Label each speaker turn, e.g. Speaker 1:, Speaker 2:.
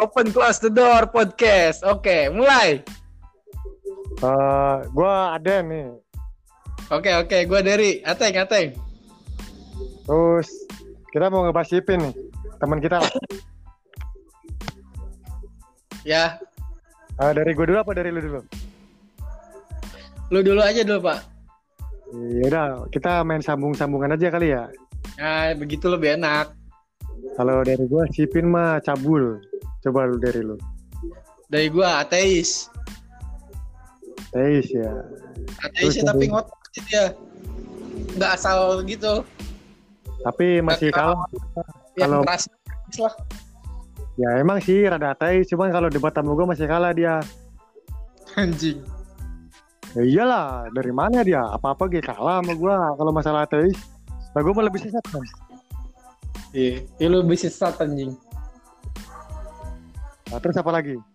Speaker 1: Open Close the Door podcast. Oke, mulai.
Speaker 2: Eh, gua ada nih.
Speaker 1: Oke, oke, gua dari Ateng, Ateng.
Speaker 2: Terus kita mau ngebahas Ipin nih. Teman kita lah.
Speaker 1: Ya,
Speaker 2: Eh, dari gua dulu apa dari lu dulu?
Speaker 1: lu dulu aja dulu, Pak.
Speaker 2: Iya udah, kita main sambung-sambungan aja kali ya.
Speaker 1: Nah, begitu lebih enak.
Speaker 2: Kalau dari gua si Ipin mah cabul. Coba lu dari lu.
Speaker 1: Dari gua ateis.
Speaker 2: Teis ya.
Speaker 1: Ateis ya,
Speaker 2: Terus
Speaker 1: tapi
Speaker 2: dari-
Speaker 1: ngotot sih dia. Nggak asal gitu.
Speaker 2: Tapi masih
Speaker 1: Kalau-
Speaker 2: kalah.
Speaker 1: Yang
Speaker 2: Kalau-
Speaker 1: keras keras lah.
Speaker 2: Ya emang sih rada teis, cuman kalau debat sama gua masih kalah dia.
Speaker 1: Anjing.
Speaker 2: Ya iyalah, dari mana dia? Apa-apa dia kalah sama gua kalau masalah ateis. Lah gua mah lebih sesat kan.
Speaker 1: Iya, ya, lu bisa sesat anjing.
Speaker 2: Nah, terus apa lagi?